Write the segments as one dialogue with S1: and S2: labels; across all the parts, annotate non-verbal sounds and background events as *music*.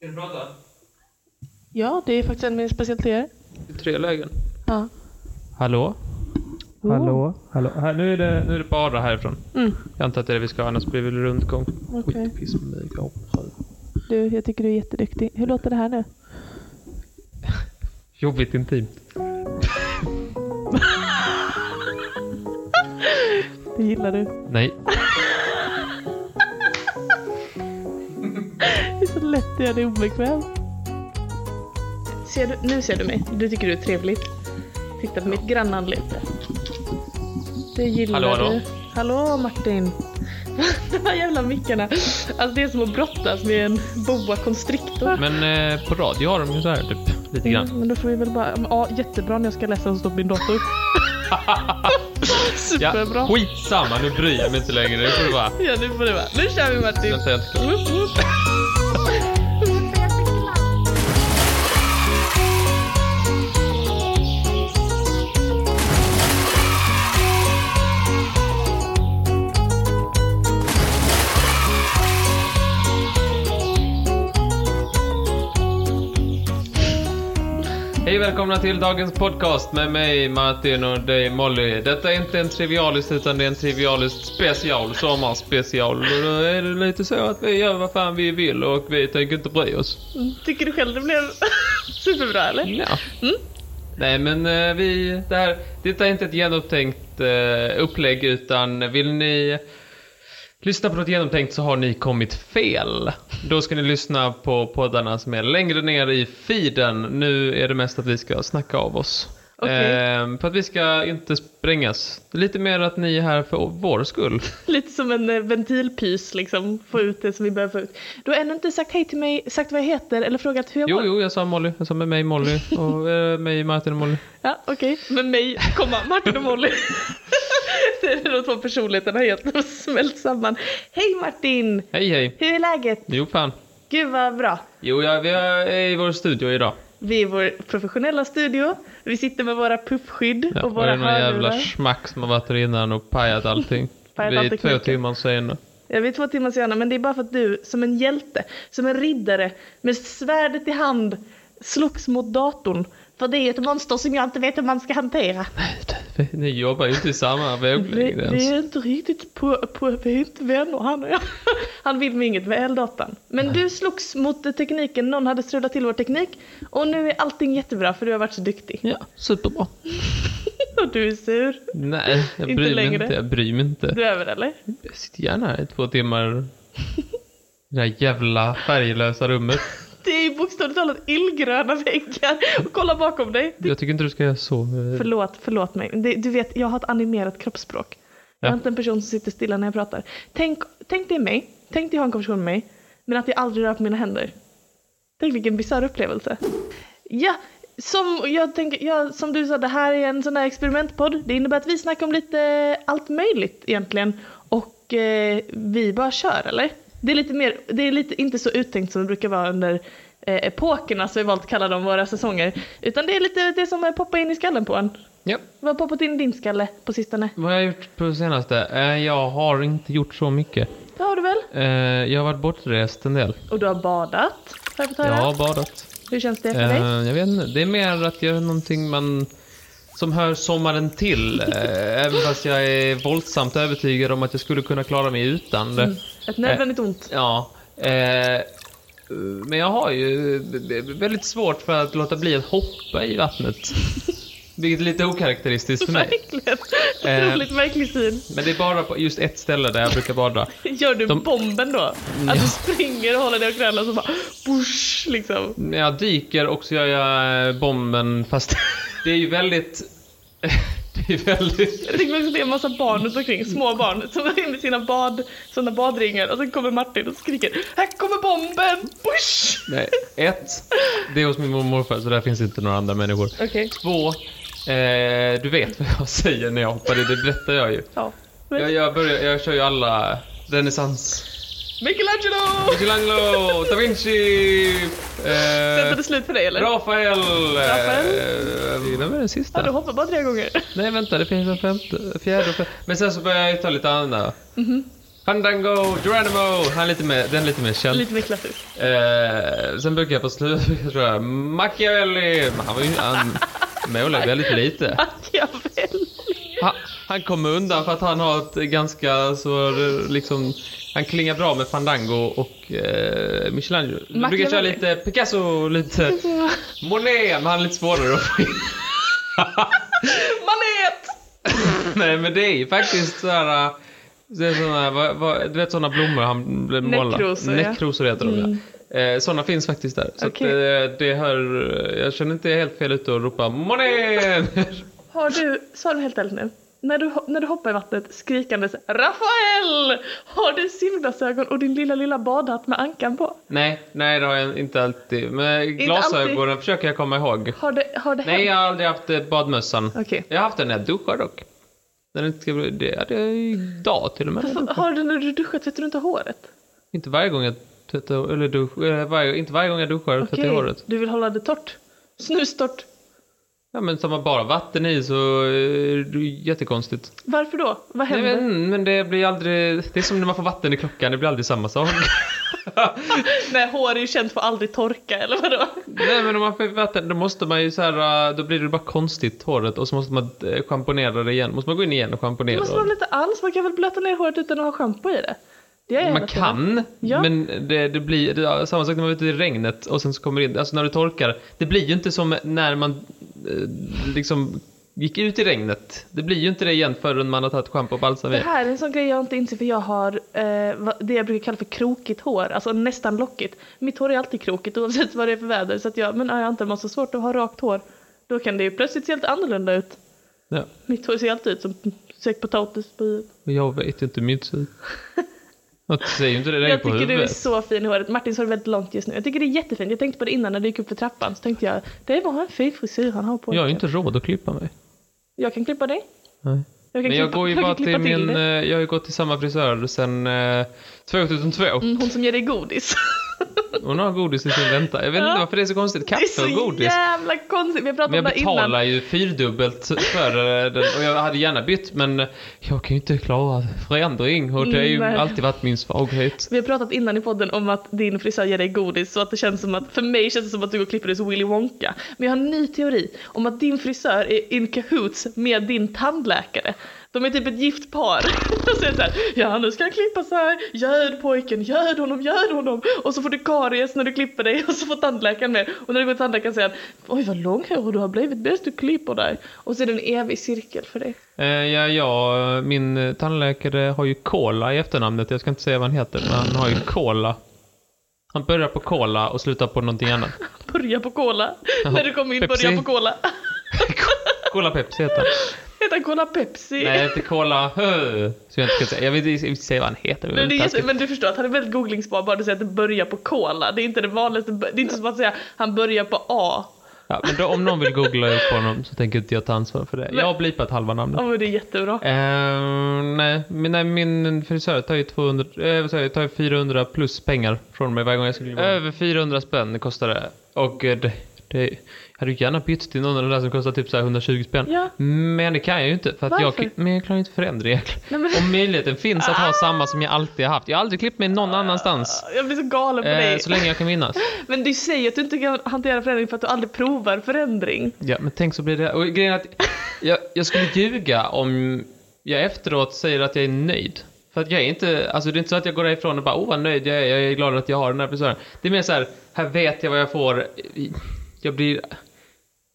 S1: Är det bra då?
S2: Ja, det är faktiskt en av mina specialiteter.
S1: I tre lägen.
S2: Ja.
S1: Hallå?
S2: Oh.
S1: Hallå? Hallå? Här, nu, är det, nu är det bara härifrån.
S2: Mm,
S1: Jag antar att det är det vi ska, annars blir det väl rundgång.
S2: Okej.
S1: Skitpiss med mig. Jag hoppar.
S2: du, jag tycker du är jätteduktig. Hur låter det här nu?
S1: Jobbigt intimt.
S2: Det gillar du.
S1: Nej.
S2: Det är så lätt att göra dig obekväm. Ser du, nu ser du mig. Du tycker du är trevlig. Titta på mitt grannanlete. Det gillar
S1: Hallå, hallå.
S2: du. Hallå Martin. *laughs* De här jävla mickarna. Alltså det är som att brottas med en boa constrictor.
S1: Men eh, på radio har de ju så här typ. Lite grann.
S2: Mm, men då får vi väl bara... Ja, jättebra när jag ska läsa hos min dator. *laughs* Superbra.
S1: Ja, skitsamma, nu bryr jag mig inte längre. Nu får det vara.
S2: Ja, nu får det vara. Nu kör vi Martin.
S1: Vänta, jag är inte klar.
S2: Woop, woop.
S1: Hej och välkomna till dagens podcast med mig Martin och dig Molly. Detta är inte en trivialist utan det är en trivialist special, sommarspecial. Och då är det lite så att vi gör vad fan vi vill och vi tänker inte bry oss.
S2: Tycker du själv det blev *laughs* superbra eller?
S1: Ja.
S2: Mm.
S1: Nej men eh, vi, det här, detta är inte ett genomtänkt eh, upplägg utan vill ni lyssna på något genomtänkt så har ni kommit fel. Då ska ni lyssna på poddarna som är längre ner i feeden. Nu är det mest att vi ska snacka av oss.
S2: Okej.
S1: Ehm, för att vi ska inte sprängas. Lite mer att ni är här för vår skull.
S2: Lite som en eh, ventilpys liksom, få ut det som vi behöver få ut. Du har ännu inte sagt hej till mig, sagt vad jag heter eller frågat hur jag
S1: Jo,
S2: mår.
S1: jo, jag sa Molly. Jag sa med mig Molly och eh, mig Martin och Molly.
S2: Ja, okej. Med mig, komma, Martin och Molly. *laughs* det är de två personligheterna har helt och smält samman. Hej Martin!
S1: Hej, hej.
S2: Hur är läget?
S1: Jo, fan.
S2: Gud vad bra.
S1: Jo, ja, vi är i vår studio idag.
S2: Vi är i vår professionella studio. Vi sitter med våra puffskydd
S1: Ja,
S2: och
S1: det
S2: våra
S1: är någon jävla
S2: hörlurar.
S1: schmack som har varit här innan och pajat allting.
S2: *laughs* Pajat
S1: vi
S2: all
S1: är två
S2: tekniken.
S1: timmar senare.
S2: Ja, vi är två timmar sena, men det är bara för att du som en hjälte, som en riddare med svärdet i hand slogs mot datorn. För det är ett monster som jag inte vet hur man ska *laughs* hantera.
S1: Vi- Ni jobbar ju inte i samma
S2: Vi,
S1: våglängd
S2: vi
S1: ens.
S2: är inte riktigt på, på, vi är inte vänner han och jag. *laughs* Han vill mig inget väl datan. Men du slogs mot eh, tekniken, någon hade strulat till vår teknik och nu är allting jättebra för du har varit så duktig.
S1: Ja, superbra.
S2: *laughs* Och du är sur.
S1: Nej, jag
S2: *laughs* Inte
S1: bryr mig
S2: längre.
S1: inte. Jag bryr mig inte.
S2: Du är över eller?
S1: Jag sitter gärna här i två
S2: *laughs*
S1: timmar. I det här jävla färglösa rummet.
S2: Det är ju bokstavligt talat illgröna väggar. Och kolla bakom dig.
S1: Jag tycker inte du ska göra så.
S2: Förlåt, förlåt mig. Det, du vet, jag har ett animerat kroppsspråk. Jag är
S1: Ja.
S2: inte en person som sitter stilla när jag pratar. Tänk, tänk dig mig, tänk dig ha en konversation med mig, men att jag aldrig rör på mina händer. Tänk vilken bisarr upplevelse. Ja, som, jag tänker, ja, som du sa, det här är en sån där experimentpodd. Det innebär att vi snackar om lite allt möjligt egentligen. Och eh, vi bara kör, eller? Det är lite mer, det är lite inte så uttänkt som det brukar vara under eh, epokerna som vi valt att kalla dem våra säsonger. Utan det är lite det som eh, poppar in i skallen på en.
S1: Ja,
S2: Vad har poppat in i din skalle på sistone?
S1: vad har jag gjort på det senaste? Eh, Jag har inte gjort så mycket.
S2: Det har du väl?
S1: Eh, Jag har varit bortrest en del.
S2: Och du har badat? Har jag fått höra?
S1: Jag har badat.
S2: Hur känns det för dig?
S1: Eh, jag vet inte. Det är mer att jag är någonting man som hör sommaren till. Eh, även fast jag är våldsamt övertygad om att jag skulle kunna klara mig utan det.
S2: Mm. Ett nödvändigt ont?
S1: Ja. Eh, men jag har ju eh, väldigt svårt för att låta bli att hoppa i
S2: *laughs*
S1: vattnet. Vilket är lite okaraktäristiskt för mig.
S2: Verkligen.
S1: Eh.
S2: Otroligt märklig syn.
S1: Men det är bara på just ett ställe där jag brukar bada.
S2: Gör du
S1: De-
S2: bomben då? Att du springer och håller dig och knölar och så bara bush, liksom.
S1: När jag dyker och så gör jag eh, bomben fast *laughs* det är ju väldigt... *laughs* Det är väldigt...
S2: Jag tänker mig också det är en massa barn runt omkring, små barn som är med sina bad, såna badringar och sen kommer Martin och skriker Här kommer bomben! Bush!
S1: Nej, ett, det är hos min mormor och morfar så där finns inte några andra människor.
S2: Okej.
S1: Två, eh, du vet vad jag säger när jag hoppar i, det berättar jag ju.
S2: Ja. Men,
S1: Jag, jag, börjar, jag kör ju alla renässans.
S2: Michelangelo!
S1: Michelangelo, da Vinci,
S2: Sen tar
S1: eh,
S2: det slut för dig eller?
S1: Rafael.
S2: Rafael?
S1: Eh, vem är den
S2: Ja, du
S1: sista?
S2: hoppar bara tre gånger.
S1: Nej vänta, det finns en femte, fjärde och femte. Men sen så börjar jag ju ta lite andra. Fandango, Geronimo! Han är lite mer, den är lite mer känd.
S2: Lite mer klassisk.
S1: Eh, sen brukar jag på slutet, tror *laughs* jag, Machiavelli! Men Han var ju, han målade väldigt lite.
S2: Machiavelli.
S1: Han, han kom undan för att han har ett ganska så, eh, liksom, han klingar bra med Fandango och eh, Michelangelo. Du brukar köra
S2: Machiavelli.
S1: lite Picasso, lite Monet, men han är lite svårare att få in.
S2: Manet!
S1: Nej men det är ju faktiskt såhär, äh, det är såna, vad, vad, du vet såna blommor han blev målad.
S2: Nekrosor, ja. Mm.
S1: Nekrosor heter de ja. Eh, såna finns faktiskt där. Så
S2: Okej.
S1: att, eh, det hör, jag känner inte helt fel ut att ropa Monet!
S2: Har du, sa du helt ärligt nu, när du, ho- när du hoppar i vattnet skrikandes Rafael! Har du simglasögon och din lilla lilla badhatt med ankan på?
S1: *laughs* nej, nej det har jag inte alltid. Men glasögonen försöker jag komma ihåg.
S2: Har det, har det
S1: Nej
S2: hänt?
S1: jag har aldrig haft eh, badmössan.
S2: Okej.
S1: Jag har haft den när jag duschar dock. När det inte ska bli, det hade jag idag till och med.
S2: Har du när du duschar tvättar du inte håret?
S1: Inte varje gång jag tvättar, eller dusch, eh, varje, inte varje gång jag duschar tvättar jag håret.
S2: du vill hålla det torrt? Snustort.
S1: Ja men tar man bara vatten i så är det ju jättekonstigt.
S2: Varför då?
S1: Nej,
S2: Vad händer?
S1: men, men det blir aldrig, det är som när man får vatten i klockan, det blir aldrig samma
S2: *laughs*
S1: sak.
S2: Nej, hår är ju känt för att aldrig torka eller vadå?
S1: Nej men om man får vatten då måste man ju så här, äh, då blir det bara konstigt håret och så måste man äh, schamponera det igen. Måste man gå in igen och
S2: Det
S1: schamponera
S2: måste man
S1: det?
S2: väl inte alls? Man kan väl blöta ner håret utan att ha schampo i det? Det är
S1: Man kan,
S2: Ja.
S1: men det, det blir det, är samma sak när man är ute i regnet och sen så kommer det in, alltså när det torkar. Det blir ju inte som när man äh, liksom gick ut i regnet. Det blir ju inte det igen förrän man har tagit schampo och balsam
S2: Det
S1: i.
S2: här är en sån grej jag inte inser för jag har eh, vad- det jag brukar kalla för krokigt hår, alltså nästan lockigt. Mitt hår är alltid krokigt oavsett vad det är för väder så att jag, men har jag inte man så svårt att ha rakt hår då kan det ju plötsligt se helt annorlunda ut.
S1: Ja.
S2: Mitt hår ser alltid ut som säck potatis på huvudet.
S1: Men Jag vet inte mitt sätt. Jag säger ju inte det där
S2: Jag
S1: på
S2: tycker du är
S1: huvudet.
S2: så fin i håret. Martins hår är väldigt långt just nu. Jag tycker det är jättefint. Jag tänkte på det innan när du gick upp för trappan så tänkte jag det var en fin frisyr han har på
S1: Jag har ju
S2: sig.
S1: inte råd att klippa mig.
S2: Jag kan klippa dig.
S1: Nej.
S2: Jag kan
S1: Men jag
S2: klippa,
S1: går ju bara
S2: kan klippa
S1: till min,
S2: dig.
S1: eh, jag har ju gått till samma frisör sedan eh, 2002.
S2: Mm, Hon som ger dig godis. *laughs*
S1: Hon har godis i sin vänta. Jag vet inte
S2: Ja.
S1: varför det är så konstigt.
S2: Det är
S1: Kaffe och
S2: så
S1: godis.
S2: jävla konstigt. Vi har pratat
S1: Men jag
S2: om det här innan.
S1: betalar ju fyrdubbelt för eh, den och jag hade gärna bytt men jag kan ju inte klara förändring och det har ju
S2: Nej.
S1: alltid varit min svaghet.
S2: Vi har pratat innan i podden om att din frisör ger dig godis så att det känns som att, för mig känns det som att du går och klipper dig som Willy Wonka. Men jag har en ny teori om att din frisör är in cahoots med din tandläkare. De är typ ett gift par. *laughs* Och så är det så här, ja nu ska han klippa så här, göd pojken, göd honom, göd honom. Och så får du karies när du klipper dig och så får tandläkaren med. Och när du går till tandläkaren säger han, oj vad lång hår du har blivit, bäst du klipper dig. Och så är det en evig cirkel för dig.
S1: Eh, ja, ja, min eh, tandläkare har ju Cola i efternamnet. Jag ska inte säga vad han heter, men han har ju Cola. Han börjar på Cola och slutar på någonting
S2: *laughs*
S1: annat.
S2: Börja på cola. När du kommer in,
S1: Pepsi.
S2: börja på cola. *laughs*
S1: Cola Pepsi heter han.
S2: Heter han Cola Pepsi?
S1: Nej, inte Cola Hö. Så jag inte kan säga. Jag vill inte jag vill inte säga vad han heter. Det är
S2: Men, det är
S1: väldigt
S2: jätte,
S1: taskigt.
S2: men du förstår att han är väldigt googlingsbar bara du säger att det börjar på cola. Det är inte det vanligaste, det är inte som att säga han börjar på A.
S1: Ja, men då, om någon vill googla upp honom så tänker inte jag ta ansvar för det. Jag har blipat halva namnet.
S2: Ja men det är jättebra.
S1: Eh, nej, men nej, min frisör tar ju, 200, eh, vad sa jag, tar ju 400 plus pengar från mig varje gång jag ska klippa. Över 400 spänn kostar det. Och eh, det, det, jag hade ju gärna bytt till någon av de där som kostar typ så här 120 spänn.
S2: Ja.
S1: Men det kan jag ju inte. För att
S2: Varför?
S1: jag, men jag klarar inte förändring.
S2: Nej, men- Ah!
S1: Om möjligheten finns att ha samma som jag alltid har haft. Jag har aldrig klippt mig någon annanstans.
S2: Jag blir så galen på
S1: Eh,
S2: Ah! dig.
S1: så länge jag kan minnas.
S2: Men du säger att du inte kan hantera förändring för att du aldrig provar förändring.
S1: Ja, men tänk så blir det. Och grejen är att jag, jag skulle ljuga om jag efteråt säger att jag är nöjd. För att jag är inte, alltså det är inte så att jag går därifrån och bara åh vad nöjd jag är, jag är glad att jag har den här frisören. Det är mer så här, här vet jag vad jag får. Jag blir,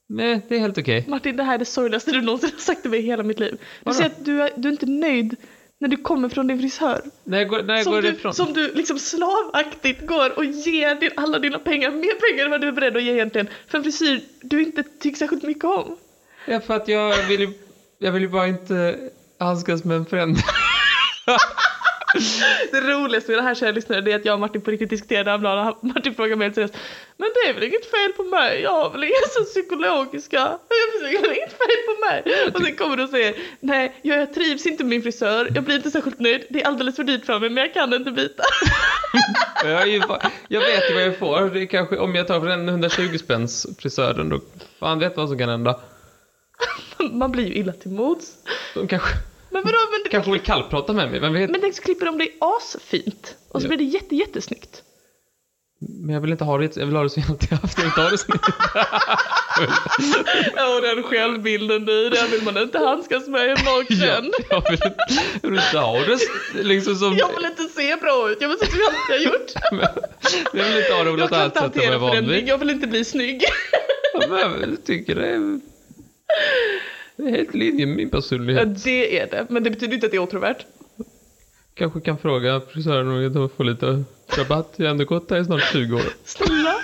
S1: nej det är helt okej.
S2: Martin det här är det sorgligaste du någonsin har sagt till mig i hela mitt liv. Du
S1: Vadå?
S2: säger att du är, du är inte nöjd när du kommer från din frisör.
S1: När jag går, när jag
S2: Som
S1: går
S2: du,
S1: ifrån.
S2: som du liksom slavaktigt går och ger din, alla dina pengar, mer pengar än vad du är beredd att ge egentligen, för en frisyr du inte tycker särskilt mycket om.
S1: Ja, för att jag vill ju, jag vill ju bara inte handskas med en förändring.
S2: Det roligaste med det här kära lyssnare det är att jag och Martin på riktigt diskuterade häromdagen och han- Martin frågade mig helt seriöst Men det är väl inget fel på mig? Jag har väl inga så psykologiska? *laughs* Det är väl inget fel på mig? Och sen kommer du och säger Nej, jag trivs inte med min frisör, jag blir inte särskilt nöjd, det är alldeles för dyrt för mig men jag kan inte byta. *laughs*
S1: Och Jag, är ju, bara- jag vet ju vad jag får. Det är kanske, om jag tar för den 120 spänns frisören då, fan vet vad som kan hända.
S2: Man blir ju illa till mods.
S1: De kanske...
S2: Men vadå, men
S1: kanske vill kallprata med mig, vem vet?
S2: Men tänk så klipper de det asfint och så
S1: Ja.
S2: blir det jätte,
S1: *laughs*
S2: jättesnyggt.
S1: Men jag vill inte ha det, jag vill ha det som jag alltid haft, jag vill inte ha det
S2: *laughs*
S1: som
S2: Ja, och den självbilden du, den vill man inte handskas med i
S1: jag,
S2: mörkren.
S1: jag, vill, inte- jag vill inte ha det liksom som...
S2: Jag vill inte se bra ut, jag vill se ut som jag alltid har gjort.
S1: *laughs* Jag vill inte ha det på
S2: Jag
S1: något
S2: kan
S1: annat sätt
S2: inte
S1: än
S2: hantera
S1: vad jag är van
S2: förändring,
S1: vid.
S2: jag vill inte
S1: *laughs*
S2: bli snygg.
S1: Ja, men Jag tycker det är... Det är helt i linje med min
S2: Ja,
S1: personlighet.
S2: det är det, men det betyder inte att det är otrovärd.
S1: Kanske kan fråga frisören om jag kan få lite rabatt. Jag har ändå gått där i snart 20 år.
S2: Snälla.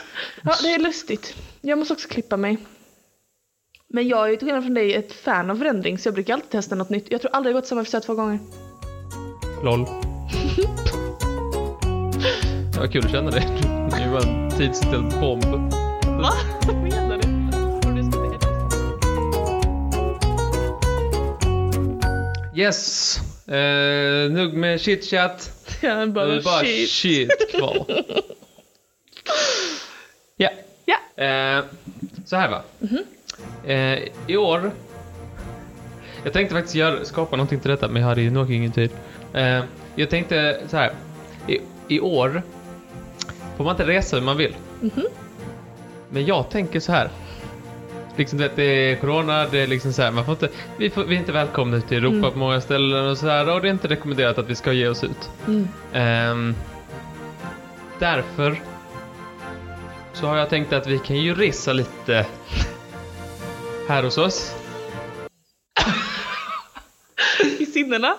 S2: Ja, det är lustigt. Jag måste också klippa mig. Men jag är ju till skillnad från dig ett fan av förändring så jag brukar alltid testa något nytt. Jag tror aldrig jag gått till samma frisör två gånger. *laughs*
S1: LOL. Det var kul att känna dig. Du var en tidsställd bomb.
S2: Va? Vad menar du? Tror du jag ska bli-
S1: Yes! Eh, nog med chitchat.
S2: Ja,
S1: Nu är
S2: bara
S1: det bara shit,
S2: shit.
S1: kvar. ja.
S2: Ja.
S1: Eh, så här va. Eh, I år. Jag tänkte faktiskt göra, skapa någonting till detta men jag hade ju nog ingen tid. Eh, jag tänkte så här. I, I år får man inte resa hur man vill. Men jag tänker så här. Liksom du vet, det är corona, det är liksom så här, man får inte, vi, får, vi är inte välkomna ut i Europa på många ställen och så här och det är inte rekommenderat att vi ska ge oss ut.
S2: Mm.
S1: Ehm, därför så har jag tänkt att vi kan ju resa lite här hos oss.
S2: I sinnena.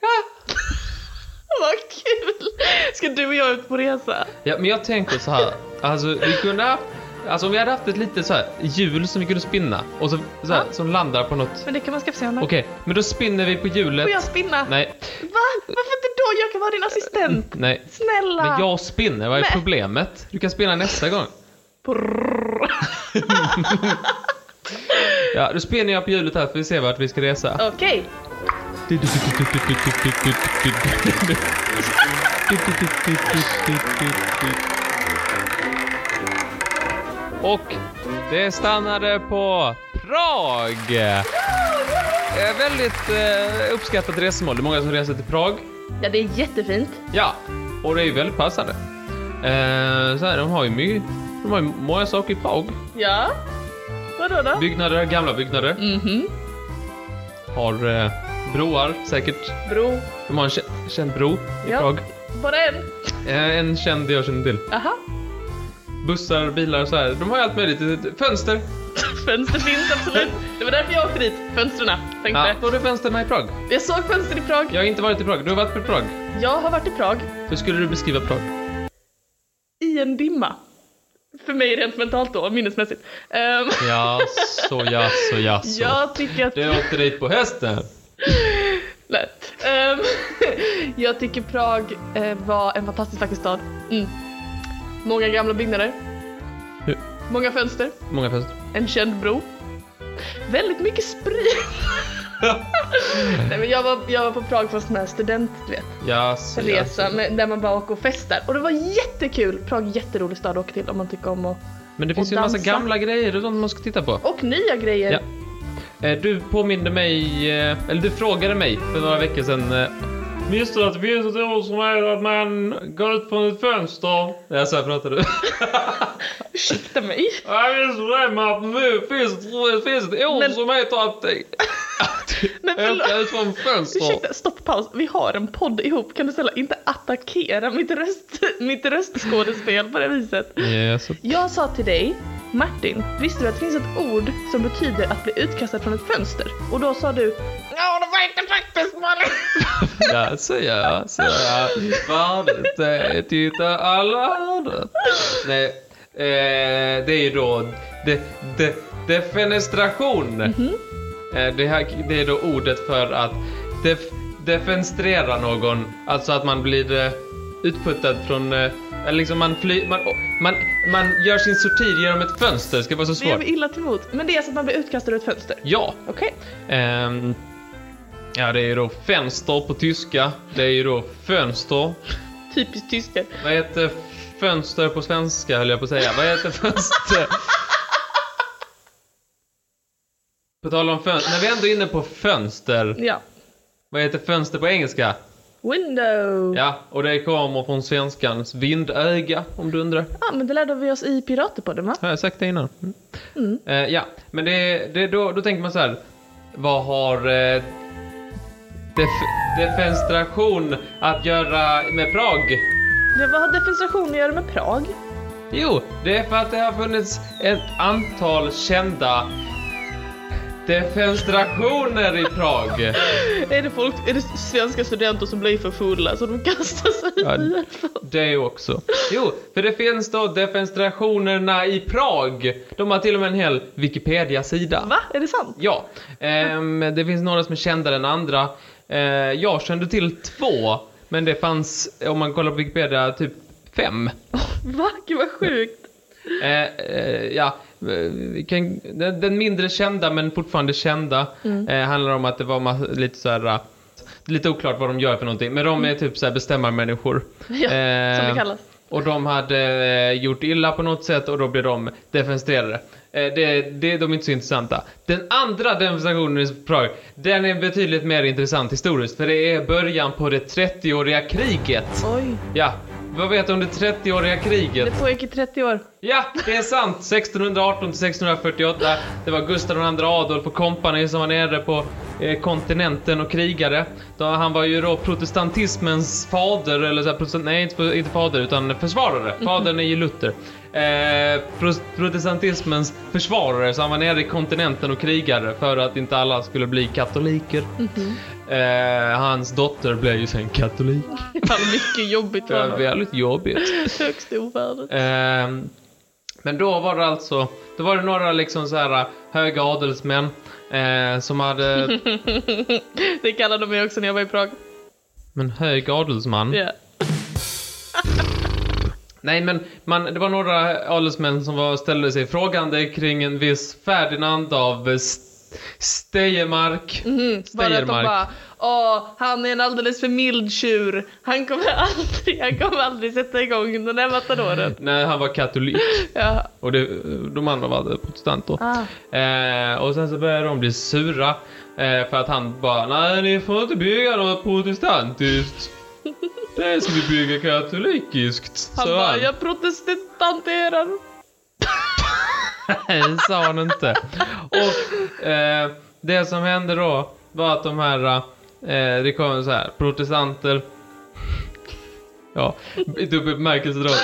S2: Ja. *laughs* Vad kul! Ska du och jag ut på resa?
S1: Ja, men jag tänker så här, alltså vi kunde haft, alltså om vi hade haft ett litet så här hjul som vi kunde spinna och så, så här, som landar på något.
S2: Men det kan man skaffa sig hemma.
S1: Okej, men då spinner vi på hjulet.
S2: Får jag spinna?
S1: Nej,
S2: Va? Varför inte då? Jag kan vara din assistent.
S1: nej.
S2: Snälla!
S1: Men jag spinner, vad är
S2: Men-
S1: problemet? Du kan spinna nästa gång.
S2: Brrr.
S1: Ja, då spinner jag på hjulet här för vi ser vart vi ska resa.
S2: *laughs* Okej.
S1: Och det stannade på Prag! Eh, väldigt eh, uppskattat resmål. Det är många som reser till Prag.
S2: Ja, det är jättefint.
S1: Ja, och det är ju väldigt passande. Eh, så här, de har ju mycket, de har ju många saker i Prag.
S2: Ja. Vadå då?
S1: Byggnader, gamla byggnader.
S2: Mhm.
S1: Har eh, broar säkert.
S2: Bro.
S1: De har en känd, känd bro i
S2: Ja.
S1: Prag.
S2: Bara en?
S1: Eh, en känd jag känner till.
S2: Aha. *laughs*
S1: Bussar, bilar och så här. De har ju allt möjligt. Eh, Fönster.
S2: Fönster finns absolut. Det var därför jag åkte dit. Fönstren. Tänkte.
S1: Ja, då är det fönsterna i Prag.
S2: Jag såg fönster i Prag.
S1: Jag har inte varit i Prag. Du har varit i Prag.
S2: Jag har varit i Prag
S1: Hur skulle du beskriva Prag?
S2: i en dimma. För mig rent mentalt då, minnesmässigt. Ehm, *laughs*
S1: Ja, alltså. så ja, så ja, så.
S2: jag tycker att...
S1: Du åkte dit på hösten.
S2: Lätt. Ehm, *laughs* jag tycker Prag eh, var en fantastiskt vacker stad. Mm. Många gamla byggnader.
S1: Ja.
S2: Många fönster.
S1: Många fester.
S2: En känd bro. Väldigt mycket sprit. Nej, men jag, var, jag var på Prag på en sån här student, du vet,
S1: *laughs* Ja, så ja,
S2: resa
S1: så.
S2: med, där man bara åker och festar. Och det var jättekul. Prag är en jätterolig stad att åka till om man tycker om att...
S1: Men det finns
S2: Och
S1: ju en massa
S2: dansa.
S1: gamla grejer och sånt man ska titta på.
S2: Och nya grejer.
S1: Ja. Eh, Du påminde mig, eh, eller du frågade mig för några veckor sedan. eh, Minns du att det finns ett ord som är att man går ut från ett fönster? Ja, så här pratar du. *laughs*
S2: Ursäkta mig.
S1: Jag visste det, men nu finns det finns ett ord
S2: Men-
S1: som heter att, att
S2: *laughs* Men förlåt.
S1: åka ut från ett fönster.
S2: Ursäkta, stopp, paus. Vi har en podd ihop. Kan du snälla inte attackera mitt, röst, mitt röstskådespel på det viset?
S1: Ja, så
S2: Jag sa till dig, Martin, visste du att det finns ett ord som betyder att bli utkastad från ett fönster? Och då sa du, ja det var inte faktiskt Malin.
S1: Ja, så ja, så ja. Värdet är titta alla andra. Nej, eh, det är ju då de, de, defenestration. Eh, det, här, det är då ordet för att def, defenestrera någon. Alltså att man blir eh, utputtad från... Eh, eller liksom man, fly, man, man, man gör sin sortir genom ett fönster. Det ska vara så
S2: Det gör
S1: svårt.
S2: vi illa till mot. Men det är alltså att man blir utkastad ur ett fönster.
S1: Ja.
S2: Okej.
S1: Ehm, ja, det är ju då fönster på tyska. Det är ju då fönster.
S2: Typiskt tyskar.
S1: Vad heter fönster på svenska höll jag på att säga. Vad heter fönster? På tal om fönster. När vi ändå är inne på fönster.
S2: Ja.
S1: Vad heter fönster på engelska?
S2: Window! Ja.
S1: Ja, och det kommer från svenskans vindöga, om du undrar.
S2: Ah, men det lärde vi oss i Piraterpodden va?
S1: Har jag sagt det innan? Mm.
S2: Mm.
S1: Eh, ja, men det, det, då, då tänker man så här. Vad har eh, def, defenstration att göra med Prag?
S2: Ja, vad har defenstration att göra med Prag?
S1: Jo, det är för att det har funnits ett antal kända defenstrationer i Prag.
S2: Är det, folk, är det svenska studenter som blir för fulla så de kastar sig
S1: Ja.
S2: i
S1: Det också. Jo, för det finns då defenstrationerna i Prag. De har till och med en hel Wikipedia-sida.
S2: Va? Är det sant?
S1: Ja, ehm, det finns några som är kändare än andra. Eh, jag kände till två, men det fanns, om man kollar på Wikipedia, typ fem.
S2: Va? Gud vad sjukt!
S1: Eh, eh, ja, eh, vi kan, den, den mindre kända, men fortfarande kända,
S2: Mm.
S1: eh, handlar om att det var massa, lite så här... eh, Lite oklart vad de gör för någonting, men de är typ så här bestämmarmänniskor.
S2: Mm. *laughs* Ja, som det
S1: Ehm,
S2: kallas.
S1: och de hade eh, gjort illa på något sätt och då blev de defenstrerade. Eh, det, det, de är inte så intressanta. Den andra demonstrationen i Prag, den är betydligt mer intressant historiskt för det är början på det 30-åriga kriget.
S2: Oj,
S1: Ja, vad vet du om det 30-åriga kriget?
S2: det pågick i 30 år.
S1: Ja, det är sant! 1618 till 1648. Det var Gustav II Adolf och kompani som var nere på eh, kontinenten och krigade. Då, han var ju då protestantismens fader, eller så här, protestant, nej inte, inte fader utan försvarare. Fadern är ju Luther. Eh, pro- protestantismens försvarare, så han var nere i kontinenten och krigade för att inte alla skulle bli katoliker. Eh, hans dotter blev ju sen katolik.
S2: Fan mycket jobbigt
S1: Det
S2: var
S1: var
S2: det.
S1: väldigt jobbigt.
S2: Högst ovärdigt.
S1: Ehm, men då var det alltså, då var det några liksom så här höga adelsmän eh, som
S2: *laughs*
S1: hade,
S2: Det kallade de mig också när jag var i Prag.
S1: Mm. men hög adelsman?
S2: Ja.
S1: Nej men man, det var några adelsmän som var, ställde sig frågande kring en viss Ferdinand av eh, St- Steiermark.
S2: Mm, bara att de
S1: Steiermark.
S2: bara, åh, han är en alldeles för mild tjur. Han kommer *laughs* aldrig, han kommer aldrig sätta igång den där matadoren.
S1: Nej, han var katolik
S2: Ja.
S1: och det, de andra var protestanter.
S2: Ah.
S1: Eh, och sen så började de bli sura eh, för att han bara Nej ni får inte bygga något
S2: *laughs*
S1: protestantiskt. Det ska vi bygga katolikiskt.
S2: Han
S1: sa
S2: bara, jag protestanterar.
S1: Nej, sa han inte. Och eh, det som hände då var att de här, eh, det kom så här, protestanter, ja, i dubbel bemärkelse då.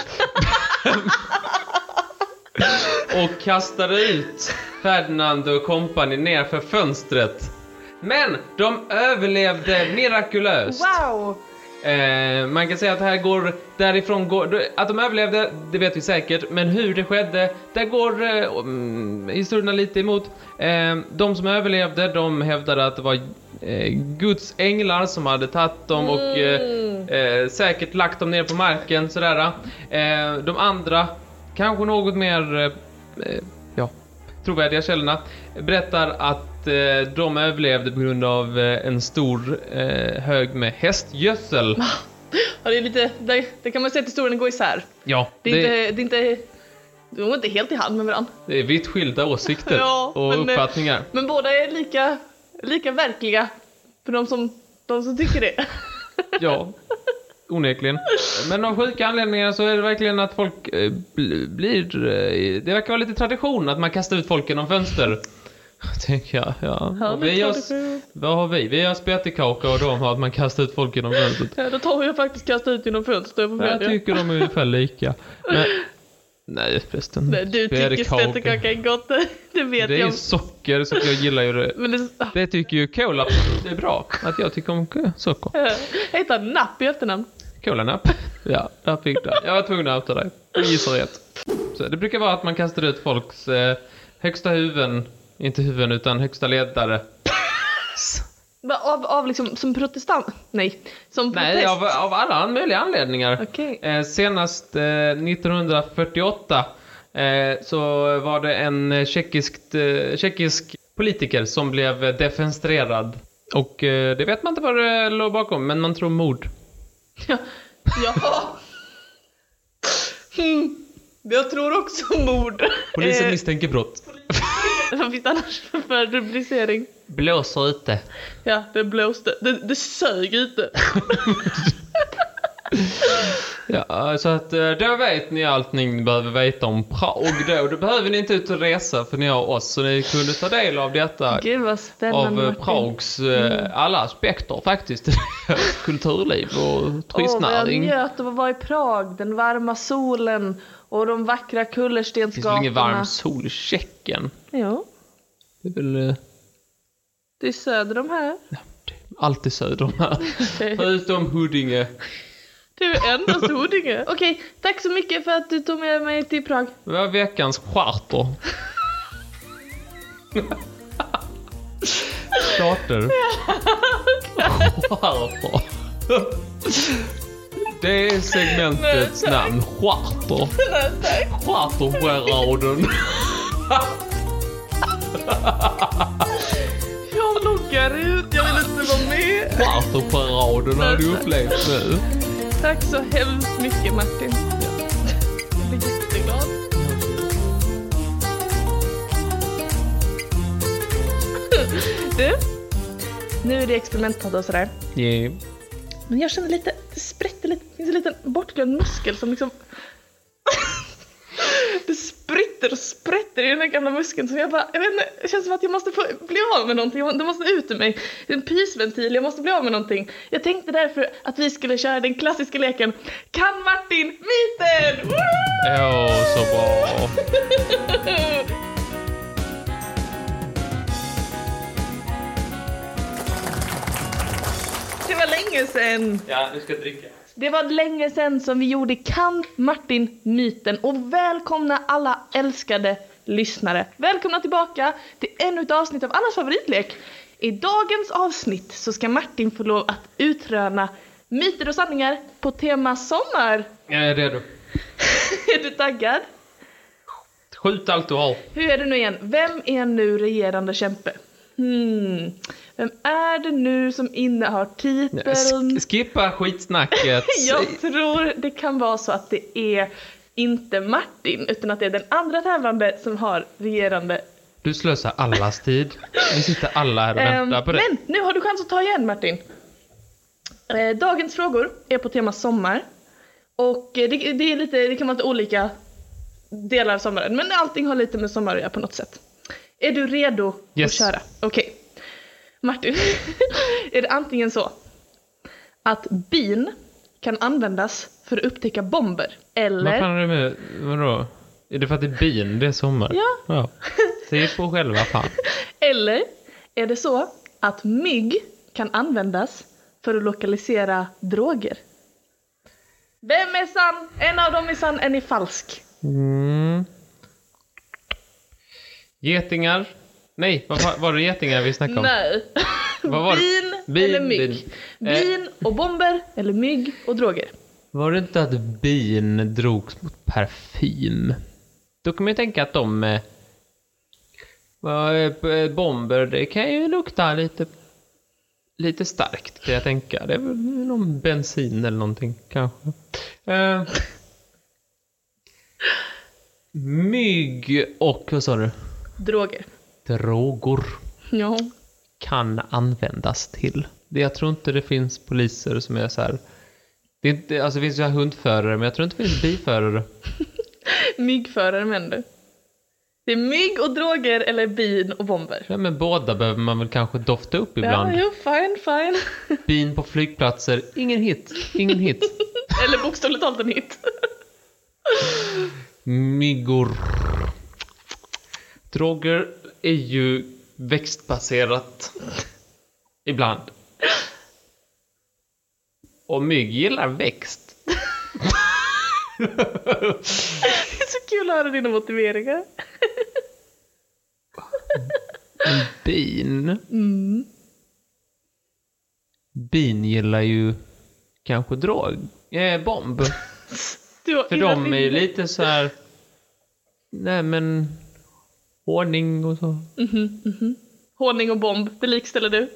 S1: och kastade ut Ferdinand och kompani ner för fönstret. Men de överlevde mirakulöst.
S2: Wow!
S1: Eh, man kan säga att det här går därifrån, går, att de överlevde, det vet vi säkert, men hur det skedde, där går eh, mm, historierna lite emot. Eh, de som överlevde, de hävdade att det var eh, Guds änglar som hade tagit dem och eh, eh, säkert lagt dem ner på marken, sådär. Eh, de andra, kanske något mer, eh, eh, ja, trovärdiga källorna berättar att eh, de överlevde på grund av eh, en stor eh, hög med hästgödsel.
S2: Ja, det är lite, det, det kan man säga att historien går isär.
S1: Ja,
S2: Det är, Inte, det är inte, de går inte helt i hand med varandra.
S1: det är vitt skilda åsikter
S2: *laughs* Ja,
S1: och
S2: men, eh,
S1: uppfattningar.
S2: Men båda är lika, lika verkliga för de som, de som tycker det. *laughs*
S1: Ja, onekligen. Men av sjuka anledningar så är det verkligen att folk eh, bl- blir... eh, Det verkar vara lite tradition att man kastar ut folk genom fönster. *laughs* Tänker jag, ja.
S2: Ja,
S1: Och
S2: men
S1: vi har,
S2: tradition.
S1: vad har vi? Vi har spöttekaka och de har att man kastar ut folk genom fönstret.
S2: Ja, Då tar jag faktiskt kasta ut genom fönstret på
S1: Nej, jag
S2: fredag.
S1: tycker de är ungefär lika. Men, nej förresten.
S2: Nej, Du tycker
S1: Spettekaka.
S2: spettekaka är gott, *laughs* det vet
S1: Det är
S2: jag.
S1: ju socker så att jag gillar ju det.
S2: Men det,
S1: Det tycker ju Cola det är bra. Att jag tycker om k- socker.
S2: *laughs* Jag heter Napp i efternamn.
S1: Colanapp. Ja, där fick du. Jag var tvungen att outa dig. Du gissar rätt. Så det brukar vara att man kastar ut folks eh, högsta huvuden. Inte huvuden utan högsta ledare.
S2: Va, Av, av liksom, som protestant? Nej, som protest?
S1: Nej, av, av alla möjliga anledningar.
S2: Okej. *laughs*
S1: Eh, senast eh, 1948 eh, så var det en eh, tjeckiskt, eh, tjeckisk politiker som blev eh, defenstrerad. Och eh, det vet man inte vad det låg bakom, men man tror mord.
S2: Ja. Jaha. *laughs* Mm. Jag tror också mord.
S1: Polisen
S2: Eh,
S1: misstänker brott.
S2: *laughs* Vad finns det annars för rubricering?
S1: Blåser ute.
S2: Ja, det blåste. Det, det
S1: *laughs*
S2: sög ute.
S1: Ja, så att eh, då vet ni allt ni behöver veta om Prag då. Då behöver ni inte ut och resa för ni har oss så ni kunde ta del av detta.
S2: Gud vad
S1: Av
S2: spännande.
S1: eh,
S2: Martin. Mm.
S1: Prags eh, alla aspekter faktiskt. *laughs* Kulturliv och
S2: Åh, vad jag
S1: turistnäring.
S2: njöt av att vara i Prag. Den varma solen och de vackra
S1: Det finns väl
S2: kullerstensgatorna.
S1: ingen varm sol i Tjeckien?
S2: Jo,
S1: Det är väl eh,
S2: det är söder om här.
S1: alltid söder om
S2: *laughs*
S1: här. Förutom Huddinge.
S2: Det är endast Huddinge. *laughs* Okej, tack så mycket för att du tog med mig till Prag.
S1: Det var veckans charter. Charter. Charter. Det är segmentets
S2: Nej, tack.
S1: namn. Charter. Chartercharaden.
S2: Jag loggar ut, jag vill inte vara med.
S1: Chartercharaden har du upplevt nu.
S2: Tack så hemskt mycket Martin. Jag blir jätteglad. Du, nu är det experimentpodd och sådär.
S1: Yeah.
S2: Men jag känner lite, det sprätter lite, det finns en liten bortglömd muskel som liksom... *laughs* det spritter och sprätter i den här gamla muskeln som jag bara, jag vet inte, det känns som att jag måste få bli av med någonting, jag må- det måste ut ur mig. Det är en pysventil, jag måste bli av med någonting. Jag tänkte därför att vi skulle köra den klassiska leken Kan Martin myten? Woo!
S1: Åh, så bra.
S2: Det var länge sedan.
S1: Ja, nu ska jag dricka.
S2: Det var länge sedan som vi gjorde Kan Martin myten och välkomna alla älskade lyssnare. Välkomna tillbaka till ännu ett avsnitt av allas favoritlek. I dagens avsnitt så ska Martin få lov att utröna myter och sanningar på tema sommar. *laughs*
S1: Jag är redo.
S2: Är du taggad?
S1: Skjut allt du har.
S2: Hur är det nu igen? Vem är nu regerande kämpe? Hmm. Vem är det nu som innehar titeln?
S1: Sk- skippa
S2: *laughs*
S1: skitsnacket.
S2: Jag tror det kan vara så att det är inte Martin utan att det är den andra tävlande som har regerande.
S1: Du slösar allas tid. Nu sitter alla här och
S2: Ehm,
S1: väntar på det.
S2: men nu har du chans att ta igen Martin. Eh, dagens frågor är på tema sommar. Och eh, det, det, är lite, det kan vara lite olika delar av sommaren men allting har lite med sommar att göra på något sätt. Är du redo
S1: Yes.
S2: att köra? Okej. Martin, *laughs* är det antingen så att bin kan användas för att upptäcka bomber
S1: Vad
S2: eller
S1: fan är det med, vadå? Är det för att det är bin? Det är sommar?
S2: Ja. *laughs*
S1: Se på själva fan.
S2: Eller är det så att mygg kan användas för att lokalisera droger? Vem är sann? En av dem är sann, en är falsk.
S1: Mm. Getingar? Nej, vad fa- var det getingar vi snackade om?
S2: Nej.
S1: Vad
S2: *laughs*
S1: var det? Eh.
S2: bin,
S1: Bin,
S2: eller mygg?
S1: bin.
S2: Bin. och bomber eller mygg och droger?
S1: Var det inte att bin drogs mot parfym? Då kan man ju tänka att de... Eh, vad är b- bomber, det kan ju lukta lite... Lite starkt kan jag tänka. Det är väl någon bensin eller någonting kanske. Eh, mygg och, vad sa du?
S2: Droger.
S1: Droger
S2: Ja.
S1: kan användas till. Det, jag tror inte det finns poliser som är så här. Det, är inte, alltså det finns ju så här hundförare, men jag tror inte det finns biförare.
S2: Myggförare menar du? Det är mygg och droger eller bin och bomber?
S1: Ja, men båda behöver man väl kanske dofta upp ibland.
S2: Ja, jo, fine, fine. *laughs*
S1: Bin på flygplatser, ingen hit, ingen hit.
S2: eller bokstavligt talat en hit.
S1: Myggor. Droger är ju växtbaserat. Ibland. Och mygg gillar växt.
S2: *laughs* Det är så kul att höra dina motiveringar.
S1: Bin.
S2: Mm.
S1: Bin gillar ju kanske drog. Eh, bomb.
S2: Du har
S1: För
S2: illa
S1: de är ju
S2: minne.
S1: lite så här. Nej men. Ordning och så.
S2: Honung och bomb, det likställer du.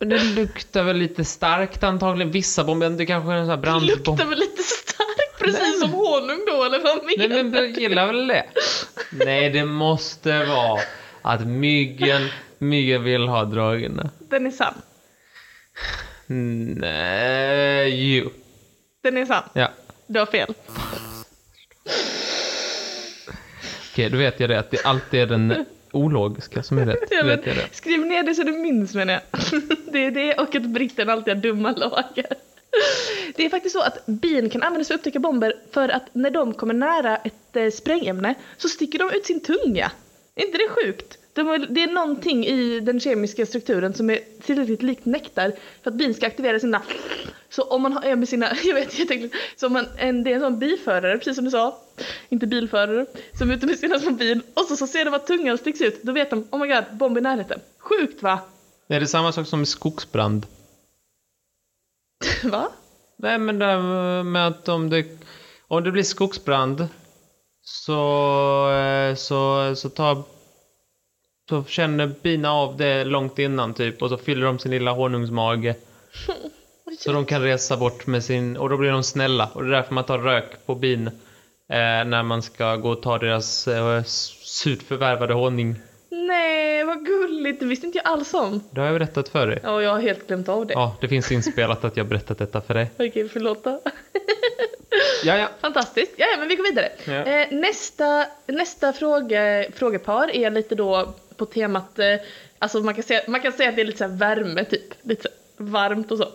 S1: Men det luktar väl lite starkt antagligen. Vissa bomber, det kanske är en sån här
S2: Det
S1: brandbomb.
S2: luktar väl lite starkt, precis som honung då, eller vad
S1: Nej
S2: menar
S1: men
S2: du?
S1: du gillar väl det? Nej, det måste vara att myggen, myggen vill ha dragarna.
S2: Den är sann.
S1: Nej, jo.
S2: Den är sann.
S1: Ja.
S2: Du har fel.
S1: Okej, eh, då vet jag det. Att det alltid är den ologiska som är rätt. Då
S2: Ja,
S1: vet *laughs*
S2: men
S1: jag det.
S2: Skriv ner det så du minns menar jag. *laughs* Det är det och att britten alltid har dumma lagar. Det är faktiskt så att bin kan användas för att upptäcka bomber för att när de kommer nära ett eh, sprängämne så sticker de ut sin tunga. Är inte det sjukt? De har, det är någonting i den kemiska strukturen som är tillräckligt likt nektar för att bin ska aktivera sina... Så om man har en med sina... *laughs* Jag vet, jag tänkte... Så om man, en, det är en sån biförare, precis som du sa. Inte bilförare. Som är ute med sina små bin. Och så, så ser de att tungan sticks ut. Då vet de, oh my god, bomb i närheten. Sjukt va? *laughs*
S1: Är det samma sak som skogsbrand?
S2: va?
S1: Nej, men det här med att om det, om det blir skogsbrand så, eh, så, så tar så känner bina av det långt innan typ och så fyller de sin lilla honungsmage så de kan resa bort med sin och då blir de snälla och det är därför man tar rök på bin eh, när man ska gå och ta deras eh, surt förvärvade honung.
S2: Nej, vad gulligt. Det visste inte jag alls om.
S1: Det har jag berättat för dig.
S2: Ja, och jag har helt glömt av det.
S1: Ja, det finns inspelat att jag berättat detta för dig.
S2: Okej, förlåt då. *laughs*
S1: Ja, ja.
S2: Fantastiskt. Ja, ja, men vi går vidare.
S1: Ja.
S2: Eh, nästa nästa fråga, frågepar är lite då på temat, eh, alltså man kan, säga, man kan säga att det är lite så här värme typ, lite så här varmt och så.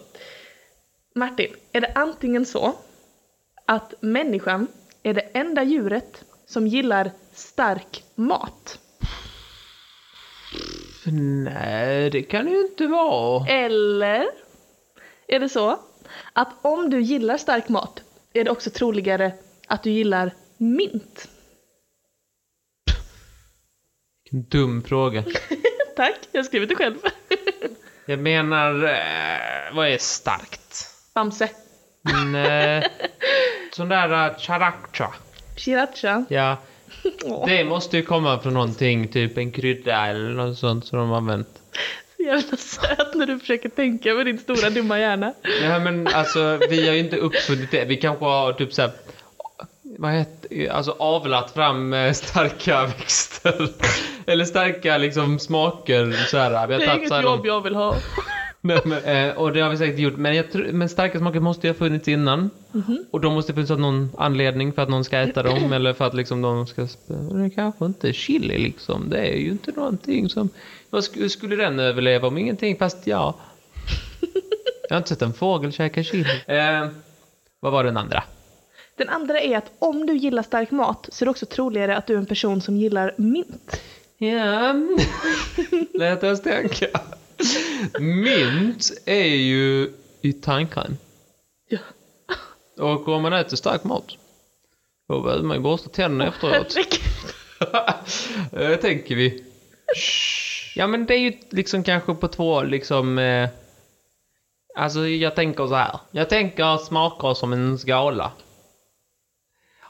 S2: Martin, är det antingen så att människan är det enda djuret som gillar stark mat?
S1: Nej, det kan det ju inte vara.
S2: Eller är det så att om du gillar stark mat är det också troligare att du gillar mint? *laughs*
S1: Dum fråga.
S2: Tack, jag har skrivit det själv. *laughs*
S1: Jag menar, eh, vad är starkt?
S2: Bamse.
S1: Nej. Sån där eh, charakcha.
S2: Sriracha.
S1: Ja,
S2: Åh,
S1: det måste ju komma från någonting, typ en krydda eller något sånt som de har använt.
S2: så jävla söt när du försöker tänka med din stora dumma hjärna.
S1: Ja, men alltså vi har ju inte uppfunnit det. Vi kanske har typ såhär, vad heter alltså avlat fram eh, starka *laughs* växter. Eller starka liksom smaker såhär. Vi har
S2: Det är
S1: tagit så här
S2: inget
S1: någon-
S2: jobb jag vill ha.
S1: Nej, men, *laughs* eh, och det har vi säkert gjort. Men, jag tror, men starka smaker måste ju ha funnits innan. Och de måste ha funnits av någon anledning för att någon ska äta dem *clears throat* eller för att liksom de ska... sp- Men det kanske inte är chili liksom. Det är ju inte någonting som... Vad sk- hur skulle den överleva om ingenting? Fast *laughs* ja... Jag har inte sett en fågel käka chili. Eh, vad var den andra?
S2: Den andra är att om du gillar stark mat så är det också troligare att du är en person som gillar mint.
S1: Ja... *laughs* Lät oss tänka. Mint är ju i tandkräm.
S2: Ja.
S1: Och om man äter stark mat, då behöver man ju borsta tänderna efteråt.
S2: Herregud.
S1: *laughs* Eh, tänker vi. Ja men det är ju liksom kanske på två liksom... Eh, alltså jag tänker så här. Jag tänker smaker som en skala.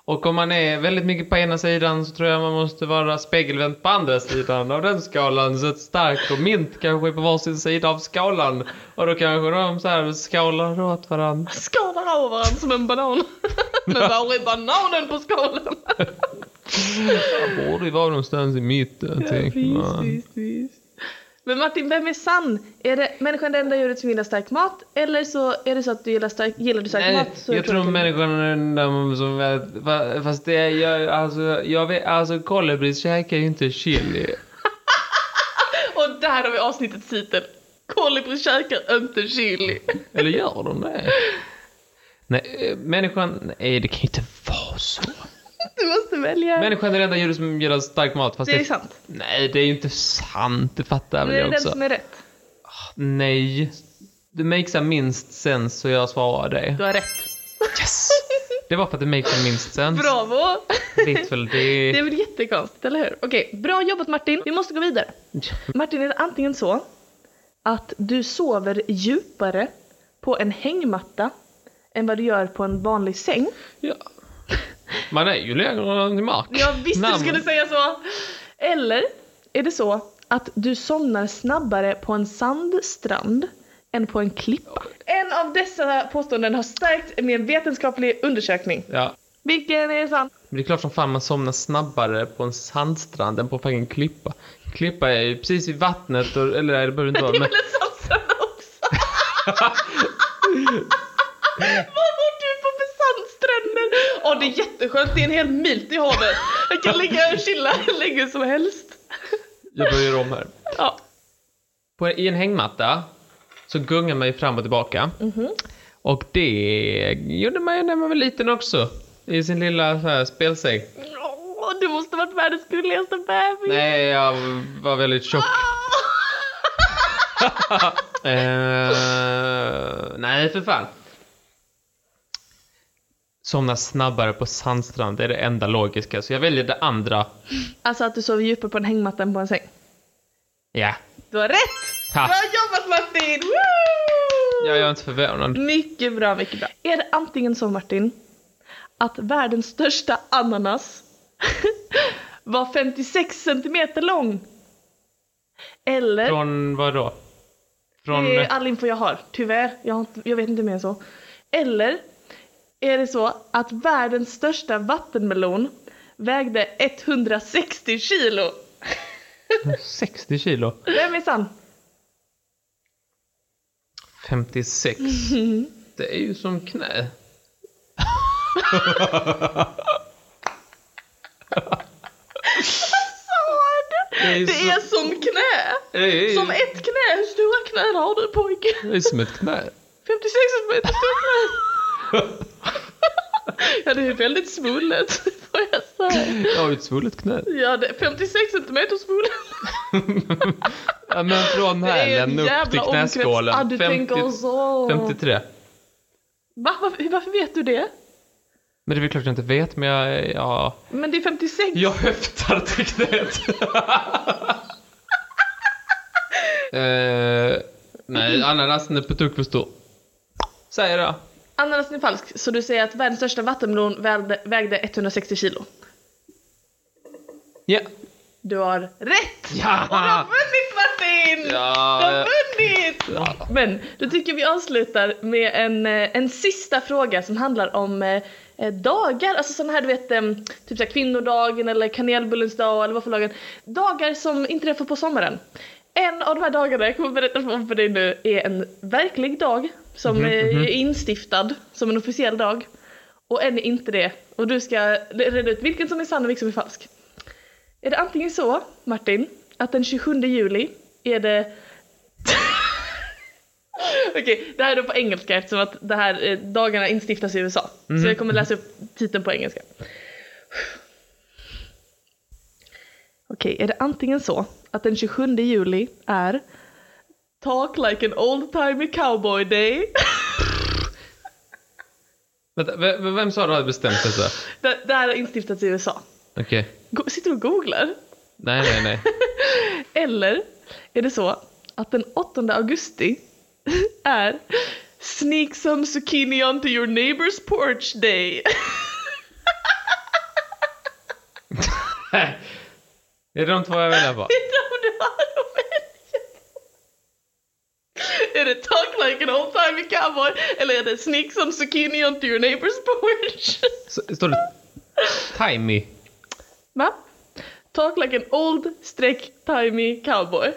S1: Och om man är väldigt mycket på ena sidan så tror jag man måste vara spegelvänd på andra sidan av den skalan. Så att stark och mint kanske är på varsin sida av skalan. Och då kanske de så här skalar åt varandra.
S2: Skalar av varandra som
S1: *laughs*
S2: en banan. Men var är bananen på skalan?
S1: Jag borde ju vara någonstans i eh, mitten. tänker man.
S2: Men Martin, vem är sann? Är det människan det enda djuret som gillar stark mat? Eller så är det så att du gillar stark, gillar du stark
S1: Nej,
S2: mat så är
S1: jag
S2: det
S1: tror
S2: troligt-
S1: människan är den där som vet, fa- fast det är jag, alltså, jag vet, alltså kolibris käkar ju inte chili.
S2: Och där har vi avsnittets titel. Kolibri käkar inte chili.
S1: Eller gör de det? Nej, eh, människan, nej det kan ju inte vara så.
S2: Du måste välja.
S1: Människan är det enda djuret som gillar stark mat, fast
S2: det är sant.
S1: Nej, det är ju inte sant, det fattar väl
S2: Det är
S1: jag
S2: den
S1: också. Ah,
S2: som är rätt.
S1: Nej, det makes a minst sense så jag svarar det.
S2: Du har rätt.
S1: Yes! Det var för att det makes a minst sense.
S2: Bravo!
S1: Vet väl
S2: Det
S1: det.
S2: är väl jättekonstigt, eller hur? Okej, bra jobbat Martin. Vi måste gå vidare. Martin, är det antingen så att du sover djupare på en hängmatta än vad du gör på en vanlig säng?
S1: Ja. Man är ju längre än i mark.
S2: Jag visste du
S1: Namn.
S2: skulle säga så! Eller är det så att du somnar snabbare på en sandstrand än på en klippa? En av dessa påståenden har stärkts med en vetenskaplig undersökning.
S1: Ja.
S2: Vilken är sann?
S1: Men det är klart som fan man somnar snabbare på en sandstrand än på fucking klippa. Klippa är ju precis vid vattnet, och, eller nej, det behöver det
S2: Det
S1: inte vara.
S2: är väl
S1: Men,
S2: en sandstrand också?
S1: *laughs*
S2: Vad var du på för sandstränder? Åh det är jätteskönt, det är en hel mil till havet. Jag kan ligga och chilla *laughs* hur länge som helst.
S1: jag börjar om här.
S2: Ja.
S1: På, I en hängmatta så gungar man ju fram och tillbaka.
S2: Mhm.
S1: Och det gjorde man ju när man var liten också. I sin lilla så här, spelsäng.
S2: Åh, du måste varit världens gulligaste bebis.
S1: Nej, jag var väldigt tjock. Eh, nej, för fan. Somna snabbare på sandstrand, det är det enda logiska. Så jag väljer det andra.
S2: *laughs* Alltså att du sover djupare på en hängmatta än på en säng.
S1: Ja.
S2: Du har rätt!
S1: Ha.
S2: Bra jobbat Martin! Woo!
S1: Jag är inte förvånad.
S2: Mycket bra, mycket bra. Är det antingen så Martin, att världens största ananas *laughs* var 56 centimeter lång? Eller,
S1: Från vad då? Från...
S2: det är all info jag har, tyvärr. Jag, har inte, jag vet inte mer än så. Eller är det så att världens största vattenmelon vägde 160 kilo?
S1: 60 kilo?
S2: Vem är sann? *laughs*
S1: 56. Det är ju som knä.
S2: Vad?
S1: Det är ju
S2: Det är
S1: så-
S2: som knä! Som ett knä, hur stora knän har du pojke?
S1: Det är som ett knä.
S2: 56 centimeter stora. Ja det är väldigt svullet *laughs* får jag säga.
S1: Jag har ju ett svullet knä.
S2: Ja det är 56 centimeter svullet.
S1: Ja, men från
S2: Det är
S1: hälen
S2: en
S1: upp till
S2: jävla
S1: knäskålen.
S2: Ah, du tänker
S1: 50,
S2: så.
S1: 53.
S2: Va? Varför, varför vet du det?
S1: Men det är väl klart jag inte vet, men jag... jag...
S2: Men det är 56.
S1: Jag höftar till knät. *laughs* eh, nej, ananasen är på tok för stor. Säger jag.
S2: Ananasen är falsk så du säger att världens största vattenmelon vägde, vägde 160 kilo.
S1: Ja.
S2: Du har rätt! Och du har
S1: Ja!
S2: vunnit Martin! Du har
S1: Ja!
S2: vunnit!
S1: eh, ja.
S2: Men då tycker vi avslutar med en, eh, en sista fråga som handlar om eh, eh, dagar, alltså sådana här du vet eh, typ så här kvinnodagen eller kanelbullens dag eller våffeldagen. Dagar som inträffar på sommaren. En av de här dagarna, jag kommer berätta om för dig nu, är en verklig dag som
S1: Mhm,
S2: eh,
S1: mhm.
S2: är instiftad som en officiell dag. Och en är inte det. Och du ska reda ut vilken som är sann och vilken som är falsk. Är det antingen så, Martin, att den 27 juli är det *laughs* Okej, det här är då på engelska eftersom att det här eh, dagarna instiftas i USA. Så jag kommer läsa upp titeln på engelska. Okej, är det antingen så att den 27 juli är Talk like an old timey cowboy day. *laughs*
S1: Vänta, vem, vem sa du hade bestämt sig så?
S2: det, det här har instiftats i USA.
S1: Okej.
S2: Go- Sitter du och googlar? *laughs*
S1: Nej, nej, nej.
S2: Eller är det så att den 8 augusti *laughs* är Sneak some zucchini onto your neighbor's porch day. *laughs*
S1: *laughs* är det de två jag väljer på?
S2: Det är de du har att välja på. Är det talk like an old timey cowboy eller är det sneak some zucchini onto your neighbor's porch?
S1: Så- Står det timey?
S2: Va? Talk like an old streck timey cowboy.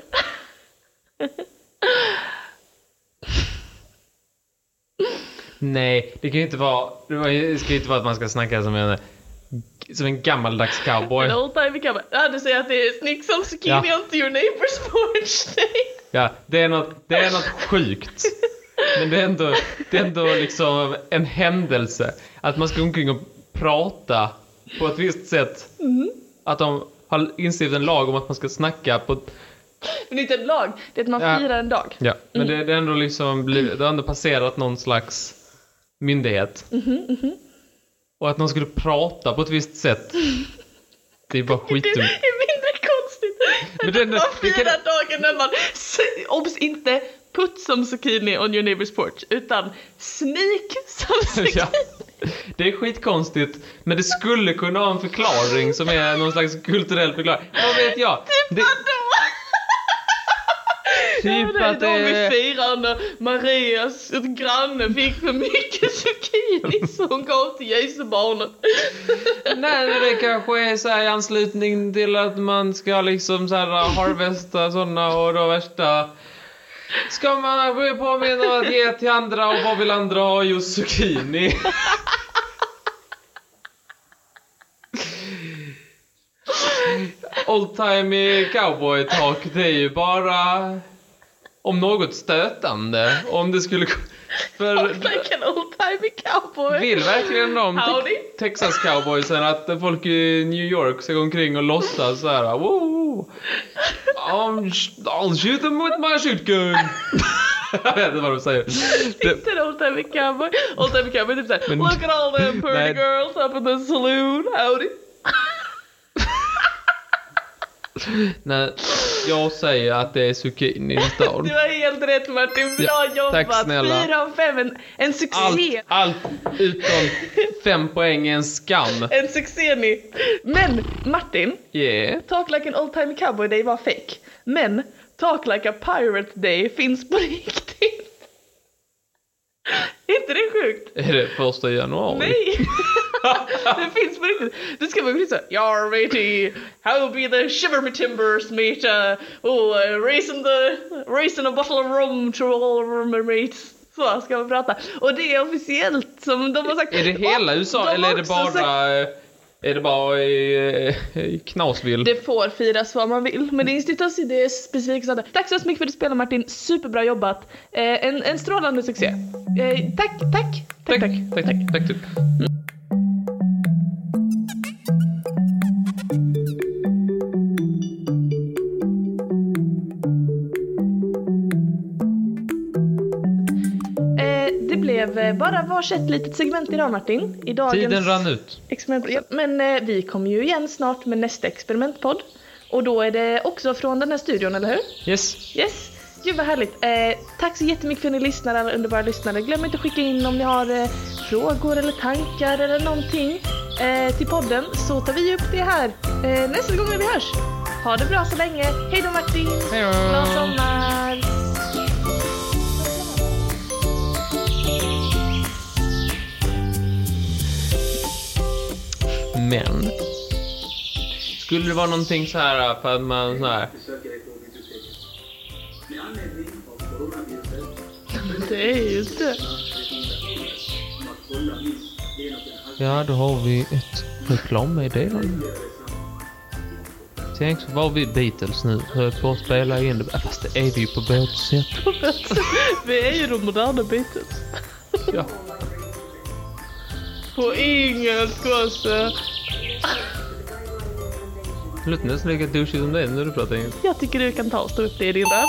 S1: Nej, det kan ju inte vara... Det var ju- det ska ju inte vara att man ska snacka som en, som en gammaldags cowboy.
S2: An old timey cowboy. Ja, du säger att det är sneak some zucchini
S1: Ja.
S2: onto your neighbor's porch. *laughs*
S1: Ja, det är något, det är något sjukt. Men det är, ändå, det är ändå liksom en händelse. Att man ska gå omkring och prata på ett visst sätt. Att de har instiftat en lag om att man ska snacka på...
S2: Men det är inte en lag, det är att man
S1: Ja.
S2: firar en dag.
S1: Ja, men det, det är ändå liksom blivit, det har ändå passerat någon slags myndighet. Och att någon skulle prata på ett visst sätt. Det är bara
S2: Det
S1: skitdumt.
S2: är mindre konstigt
S1: Men
S2: än
S1: det-
S2: att man
S1: det kan-
S2: firar dagen när man, s- obs inte put some zucchini on your neighbor's porch utan sneak some zucchini.
S1: *laughs* Ja. Det är skitkonstigt, men det skulle kunna ha en förklaring som är någon slags kulturell förklaring. Vad vet jag?
S2: Typ
S1: Det,
S2: vadå?
S1: Typ
S2: Typ det är
S1: att det
S2: då vi
S1: är...
S2: firar när Marias ett granne fick för mycket
S1: *laughs*
S2: zucchini så hon gav till Jesubarnet.
S1: Nej, men det kanske är så här i anslutning till att man ska liksom så här harvesta sådana och då värsta ska man bli påminna om att ge till andra och vad vill andra ha? Just zucchini.
S2: *laughs*
S1: Old time cowboy talk, det är ju bara om något stötande. Om det skulle... För
S2: Talk like an old timey cowboy.
S1: vill verkligen de
S2: Howdy.
S1: te- Texas cowboysen att folk i New York ska gå omkring och låtsas så här. Woo! I'm sh- I'll shoot them with my shotgun. Jag vet inte vad de säger. Det,
S2: Inte en old timey cowboy. Old timey cowboy typ såhär,
S1: Men-
S2: look at all them pretty
S1: Nej.
S2: girls up in the saloon, howdy.
S1: nej, jag säger att det är zucchini i stan.
S2: Du har helt rätt Martin, bra
S1: Ja,
S2: jobbat.
S1: tack snälla.
S2: Fyra av fem, en, en succé.
S1: Allt, allt utom fem poäng är en skam.
S2: En succé ni. Men Martin,
S1: Yeah.
S2: Talk like an old timey cowboy day var fake. Men Talk like a pirate day finns på *laughs* riktigt. Är inte det sjukt?
S1: Är det första januari?
S2: Nej! *laughs* det finns på riktigt. Du ska vara precis såhär, ja matey, how be the shiver me timbers mate, uh, oh, uh, raising the, raising a bottle of rum to all of my mates. Så ska man prata. Och det är officiellt som de har sagt.
S1: Är det hela
S2: Och de
S1: USA
S2: har
S1: eller är det
S2: också sagt-
S1: bara... Är det bara i, i Knasvill?
S2: Det får firas vad man vill, men det institutas idé är specifikt sådär. Tack så hemskt mycket för att du spelade Martin, superbra jobbat. Eh, en, en strålande succé. Eh, tack, tack, tack, tack.
S1: tack, tack, tack, tack.
S2: Eh, det blev eh, bara varsitt litet segment idag Martin. I dagens
S1: Tiden rann ut.
S2: experiment. Ja, Men eh, vi kommer ju igen snart med nästa experimentpodd. Och då är det också från den här studion, eller hur?
S1: Yes.
S2: Yes. Gud vad härligt. Eh, tack så jättemycket för att ni lyssnar, alla underbara lyssnare. Glöm inte att skicka in om ni har eh, frågor eller tankar eller någonting eh, till podden så tar vi upp det här eh, nästa gång när vi hörs. Ha det bra så länge. Hej då Martin!
S1: Hej då.
S2: Glad sommar!
S1: Men. Skulle det vara någonting så här äh, för att man så här.
S3: Med anledning av coronaviruset
S2: Det är just det.
S3: om att hålla minst en och en halv
S1: Ja, då har vi ett reklammeddelande. Tänk så var vi Beatles nu. Höll på att spela in det. Äh, Fast det är vi ju på vårt sätt.
S2: Vi är ju de moderna Beatles.
S1: Ja.
S2: På engelska också.
S1: Det låter nästan lika douchigt som dig när du pratar engelska.
S2: Jag tycker du kan ta och stå upp det i din röv.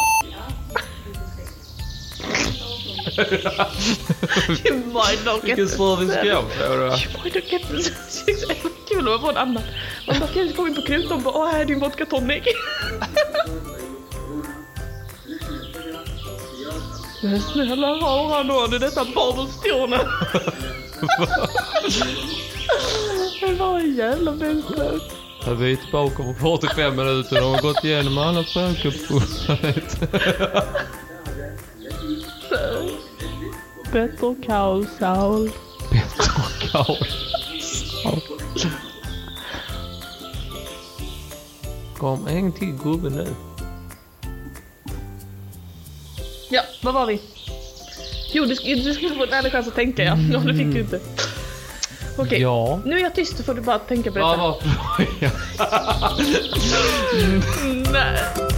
S2: Det är mindlocket.
S1: Vilken service ska jag få då?
S2: Mindlocket. Det var kul att vara en annan. Man bara, gud, kom in på krut och bara, åh, här är din vodka tonic. Men snälla, har han ordning detta
S1: *laughs*
S2: babelstornet? Det var en jävla vänskap.
S1: Ja, Vi är tillbaka på 45 minuter och har gått igenom alla saker på planeten.
S2: Better cow Saul.
S1: Bättre och kaos. Kom, häng till gubben nu.
S2: Ja, vad var vi? Jo, du, sk- du skulle få en ärlig chans att tänka ja. Ja, det fick du inte. Okej,
S1: Ja.
S2: nu är jag tyst så får du bara tänka på
S1: Vad
S2: detta.
S1: var frågan?
S2: Nej.